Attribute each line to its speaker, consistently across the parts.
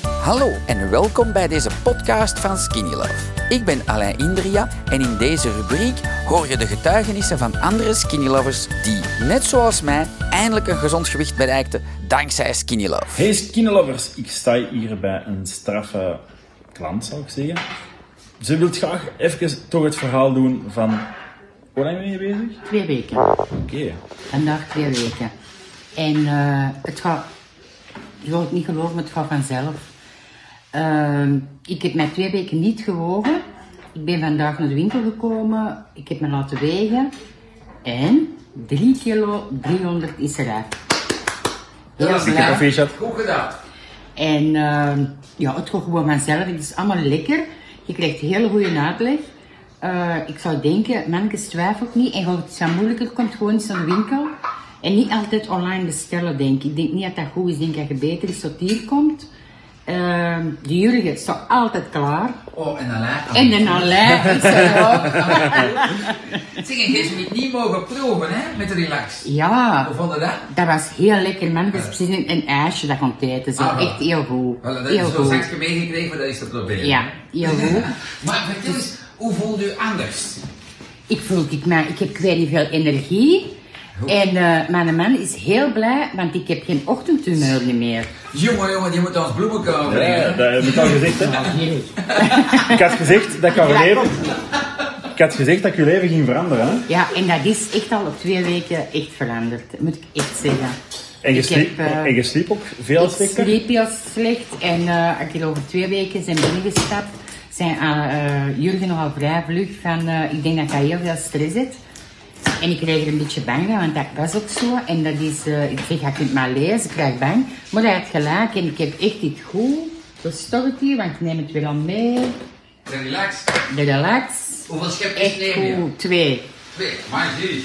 Speaker 1: Hallo en welkom bij deze podcast van Skinny Love. Ik ben Alain Indria en in deze rubriek hoor je de getuigenissen van andere Skinny Lovers die, net zoals mij, eindelijk een gezond gewicht bereikten dankzij Skinny Love.
Speaker 2: Hey skinnelovers, ik sta hier bij een straffe klant, zou ik zeggen. Ze wil graag even toch het verhaal doen van... Hoe lang ben je bezig?
Speaker 3: Twee weken.
Speaker 2: Oké.
Speaker 3: Vandaag twee weken. En eh, het gaat, je wilt het niet geloven, maar het gaat vanzelf. Ehm, ik heb mij twee weken niet gewogen. Ik ben vandaag naar de winkel gekomen. Ik heb me laten wegen. En 3 kilo 300 is eruit. Heel
Speaker 2: Dikke
Speaker 3: blij.
Speaker 2: proficiat.
Speaker 3: En ehm, ja, het gaat gewoon vanzelf. Het is allemaal lekker. Je krijgt hele goede uitleg. Eh, ik zou denken, mannetjes twijfelt niet. En als het zo moeilijker komt, gewoon eens naar de winkel. En niet altijd online bestellen, denk ik. Ik denk niet dat dat goed is. Ik denk dat je beter is tot hier komt. Ehm, de Jurgen staat altijd klaar.
Speaker 4: Oh, en dan laat
Speaker 3: En de Alain is er ook.
Speaker 4: Zeg, en je hebt het niet mogen proeven, hè, met de relax.
Speaker 3: Ja,
Speaker 4: Hoe vond je dat?
Speaker 3: dat was heel lekker. Mannetjes precies een, een ijsje dat kon eten. Zo.
Speaker 4: Ah, wel.
Speaker 3: Echt heel goed.
Speaker 4: Wel, dat
Speaker 3: heel
Speaker 4: is zo
Speaker 3: goed.
Speaker 4: straks meegekregen, maar dat is te proberen.
Speaker 3: Ja, heel goed.
Speaker 4: Maar vertel eens, hoe voelt u anders?
Speaker 3: Ik voel ik mij, ik heb ik weet niet veel energie. En eh, mijn man is heel blij, want ik heb geen ochtendhumeur niet meer.
Speaker 4: Jongen, jongen, je moet ons bloemen komen
Speaker 2: Ja,
Speaker 4: brengen.
Speaker 2: dat heb ik al gezegd, hè. Ik had gezegd dat ik al leven... Ik had gezegd dat ik je leven ging veranderen, hè.
Speaker 3: Ja, en dat is echt al op twee weken echt veranderd, moet ik echt zeggen.
Speaker 2: En je,
Speaker 3: ik
Speaker 2: sliep,
Speaker 3: heb, eh,
Speaker 2: en je sliep ook veel
Speaker 3: ik
Speaker 2: slechter.
Speaker 3: sliep heel slecht en eh, ik heb over twee weken zijn binnengestapt. Zijn aan eh, Jurgen nogal vrij vlug van, eh, ik denk dat hij heel veel stress heeft. En ik kreeg er een beetje bang van, want dat was ook zo. En dat is, eh, ik zeg, je kunt maar lezen, ik krijg bang. Maar hij had gelijk en ik heb echt dit goed. Verstort het hier, want ik neem het weer al mee.
Speaker 4: De relax.
Speaker 3: De relax.
Speaker 4: Hoeveel schepjes
Speaker 3: Echt
Speaker 4: neem je?
Speaker 3: goed, twee.
Speaker 4: Twee, maar zie.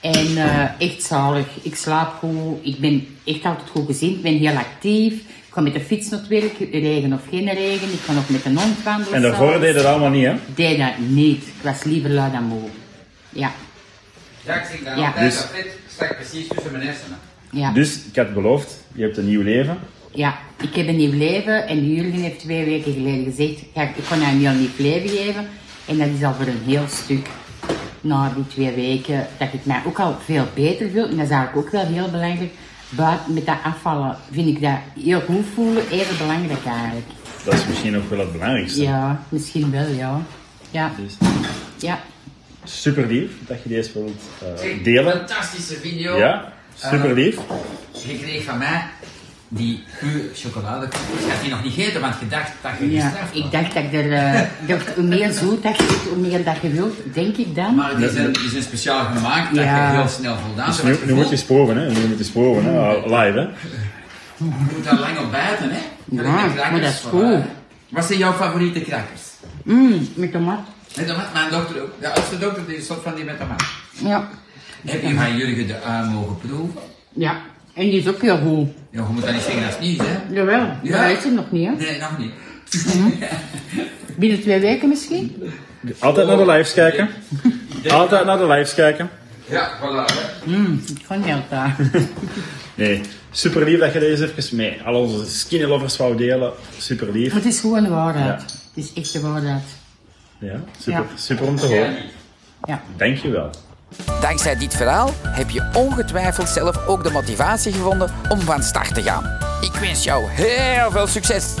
Speaker 3: En eh, echt zalig. Ik slaap goed. Ik ben echt altijd goed gezien. Ik ben heel actief. Ik ga met de fiets naar het werk, regen of geen regen. Ik kan ook met de hond wandelen.
Speaker 2: En daarvoor
Speaker 3: zelfs.
Speaker 2: deed het allemaal niet, hè.
Speaker 3: Ik deed dat niet. Ik was liever lui dan moe. Ja.
Speaker 4: Ja, ik zie dat
Speaker 3: Ja.
Speaker 4: altijd,
Speaker 2: Dus-
Speaker 4: dat dit stak precies tussen mijn hersenen.
Speaker 3: Ja.
Speaker 2: Dus ik had beloofd, je hebt een nieuw leven.
Speaker 3: ja. Ik heb een nieuw leven. En Jurgen heeft twee weken geleden gezegd, ja, ik kon hem heel nieuw leven geven. En dat is al voor een heel stuk. Na die twee weken, dat ik mij ook al veel beter voel. En dat is eigenlijk ook wel heel belangrijk. Buiten met dat afvallen vind ik dat heel goed voelen, even belangrijk eigenlijk.
Speaker 2: Dat is misschien ook wel het belangrijkste.
Speaker 3: Ja, misschien wel, ja. Ja,
Speaker 2: Dus
Speaker 3: ja.
Speaker 2: super lief dat je deze wilt eh,
Speaker 4: Zeg,
Speaker 2: delen.
Speaker 4: Fantastische video.
Speaker 2: Ja, super lief.
Speaker 4: Je kreeg van mij die puur chocoladekoekjes. Je had die nog niet gegeten, want je dacht dat je
Speaker 3: ja.
Speaker 4: gestraft
Speaker 3: Ik
Speaker 4: was.
Speaker 3: dacht dat ik er... eh, dat hoe meer zoet dat je doet, hoe meer dat je wilt, denk ik dan.
Speaker 4: Maar die zijn, die zijn speciaal gemaakt, dat
Speaker 3: Ja.
Speaker 4: je heel snel voldaan
Speaker 2: Dus
Speaker 4: bent.
Speaker 2: nu, nu moet je eens proeven, hè? Nu moet je eens proeven, hè? Ah, Live, hè?
Speaker 4: Je moet daar lang op bijten, hè?
Speaker 3: Ja,
Speaker 4: Met de crackers
Speaker 3: maar dat is
Speaker 4: van
Speaker 3: goed.
Speaker 4: haar. Wat zijn jouw favoriete crackers?
Speaker 3: Mm, met tomaat.
Speaker 4: Met tomaat, mijn dochter ook. De oudste dochter die is zot van die met tomaat.
Speaker 3: Ja.
Speaker 4: Heb je van Jurgen de ui mogen proeven?
Speaker 3: Ja. En die is ook heel goed.
Speaker 4: Ja, je moet dat niet zeggen, dat is nieuws, hè?
Speaker 3: Jawel,
Speaker 4: Ja.
Speaker 3: dat is er nog niet, hè?
Speaker 4: Nee, nog niet.
Speaker 3: Binnen twee weken misschien?
Speaker 2: Altijd naar de lives kijken. Altijd naar de lives kijken.
Speaker 4: Ja, voilà. hè.
Speaker 3: Mm, ik ga niet daar.
Speaker 2: Nee, super lief dat je deze even mee al onze skinny lovers wou delen. Super lief.
Speaker 3: Maar het is gewoon de waarheid.
Speaker 2: Ja.
Speaker 3: Het is echt de waarheid.
Speaker 2: Ja, super,
Speaker 3: Ja.
Speaker 2: super om te horen.
Speaker 3: Ja.
Speaker 2: Dankjewel.
Speaker 1: Dankzij dit verhaal heb je ongetwijfeld zelf ook de motivatie gevonden om van start te gaan. Ik wens jou heel veel succes!